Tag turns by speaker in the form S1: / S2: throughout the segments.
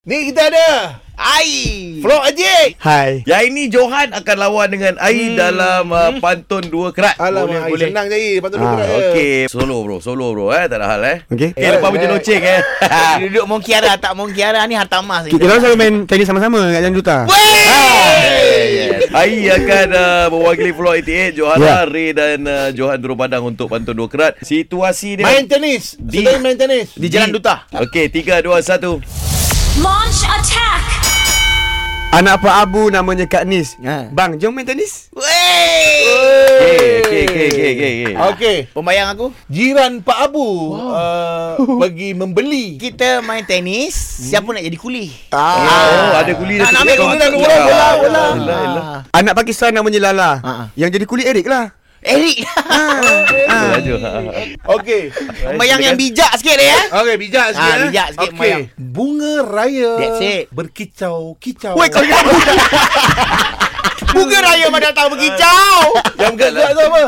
S1: Ni kita ada
S2: Ai.
S1: Flow Ajik
S3: Hai.
S2: Yang ini Johan akan lawan dengan Ai hmm. dalam uh, pantun dua kerat.
S1: Alamak boleh, Senang je Lepas tu
S3: Ah,
S1: dulu
S2: Ah, Okey, solo bro, solo bro eh, tak ada hal eh.
S3: Okey.
S2: Okay, lepas macam loceng eh.
S4: Duduk Mong Kiara Tak Mong Kiara ni Harta Mas
S3: Kita orang selalu main tenis sama-sama kat Jalan Duta.
S4: Ha.
S2: Yes. Ai akan uh, mewakili Floor 88 Johana, yeah.
S3: Ya.
S2: Ray dan uh, Johan Duru Padang untuk pantun dua kerat. Situasi dia
S1: Main tenis
S2: Di-
S1: Sedang main tenis
S4: Di Jalan Duta.
S2: Okey, 3 2 1.
S5: Launch attack!
S3: Anak Pak Abu namanya Kak Nis.
S4: Ha.
S3: Bang, jom main tenis.
S2: Okey, okey, okey, okey, okey. okey.
S1: Okey
S4: Pembayang aku
S1: Jiran Pak Abu wow. uh, Pergi membeli
S4: Kita main tenis Siapa nak jadi kuli
S2: Oh, ada kuli
S4: Nak- nak ambil eh.
S2: Kau-
S4: kuli dah
S1: dua orang, bola, bola.
S2: Yelah, yelah.
S4: Ah.
S3: Anak Pakistan namanya Lala.
S4: Ha, ha.
S3: Yang jadi kulit Eric lah.
S4: Eric Ha,
S2: Yelah, Johan.
S1: Okey
S4: Pembayang yang bijak sikit dia eh
S1: Okey bijak sikit
S4: Ah,
S1: eh.
S4: bijak sikit
S1: Okey
S4: mayang.
S1: Bunga raya
S4: That's it.
S1: Berkicau-kicau
S3: Weh, kau ingat apa?
S4: Bunga raya pada tahu berkicau
S1: Yang
S2: lah.
S1: gerak-gerak tu apa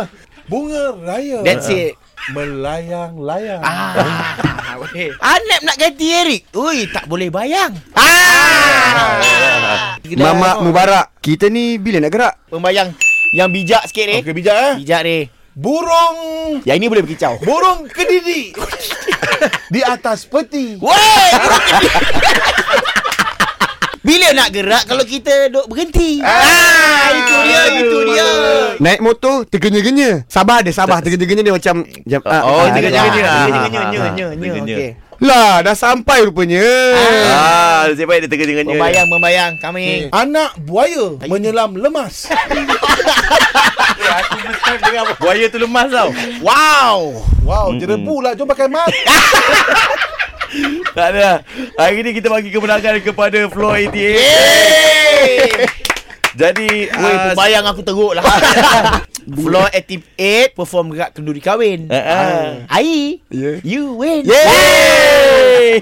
S1: Bunga raya
S4: That's it
S1: Melayang-layang
S4: Ah, boleh. Anap nak ganti Eric Ui tak boleh bayang Ha. Ah.
S3: Mamak Mubarak. Kita ni bila nak gerak?
S4: Pembayang Yang bijak sikit ni
S1: Okey bijak eh
S4: Bijak ni
S1: Burung
S4: Yang ini boleh berkicau
S1: Burung kediri Di atas peti
S4: Woi! Bila nak gerak kalau kita duk berhenti? Ah, itu dia, itu dia.
S3: Naik motor tergenya-genya. Sabah ada, Sabah tergenya-genya dia macam jam, ah, ah,
S2: Oh, tergenya-genya.
S3: ah,
S4: Nyo,
S3: ah, ah,
S4: nyo,
S3: ah.
S4: nyo, nyo.
S2: Dengannya.
S4: Okey.
S3: Lah, dah sampai rupanya.
S2: Ah, nasib baik dia tengah dengannya.
S4: Membayang, membayang. Kami.
S1: Anak buaya menyelam lemas.
S2: Buaya tu lemas tau.
S4: Wow!
S1: Wow, jerebu lah. Jom pakai mask.
S2: Tak ada. Hari ni kita bagi kemenangan kepada Floor 88. Jadi
S4: Woi,
S2: ah,
S4: pembayang aku teruk lah. Floor 88
S2: Eh,
S4: perform gerak kenduri kahwin.
S2: Ah, ah.
S4: Ai,
S3: Ya.
S4: you win.
S2: Yeay!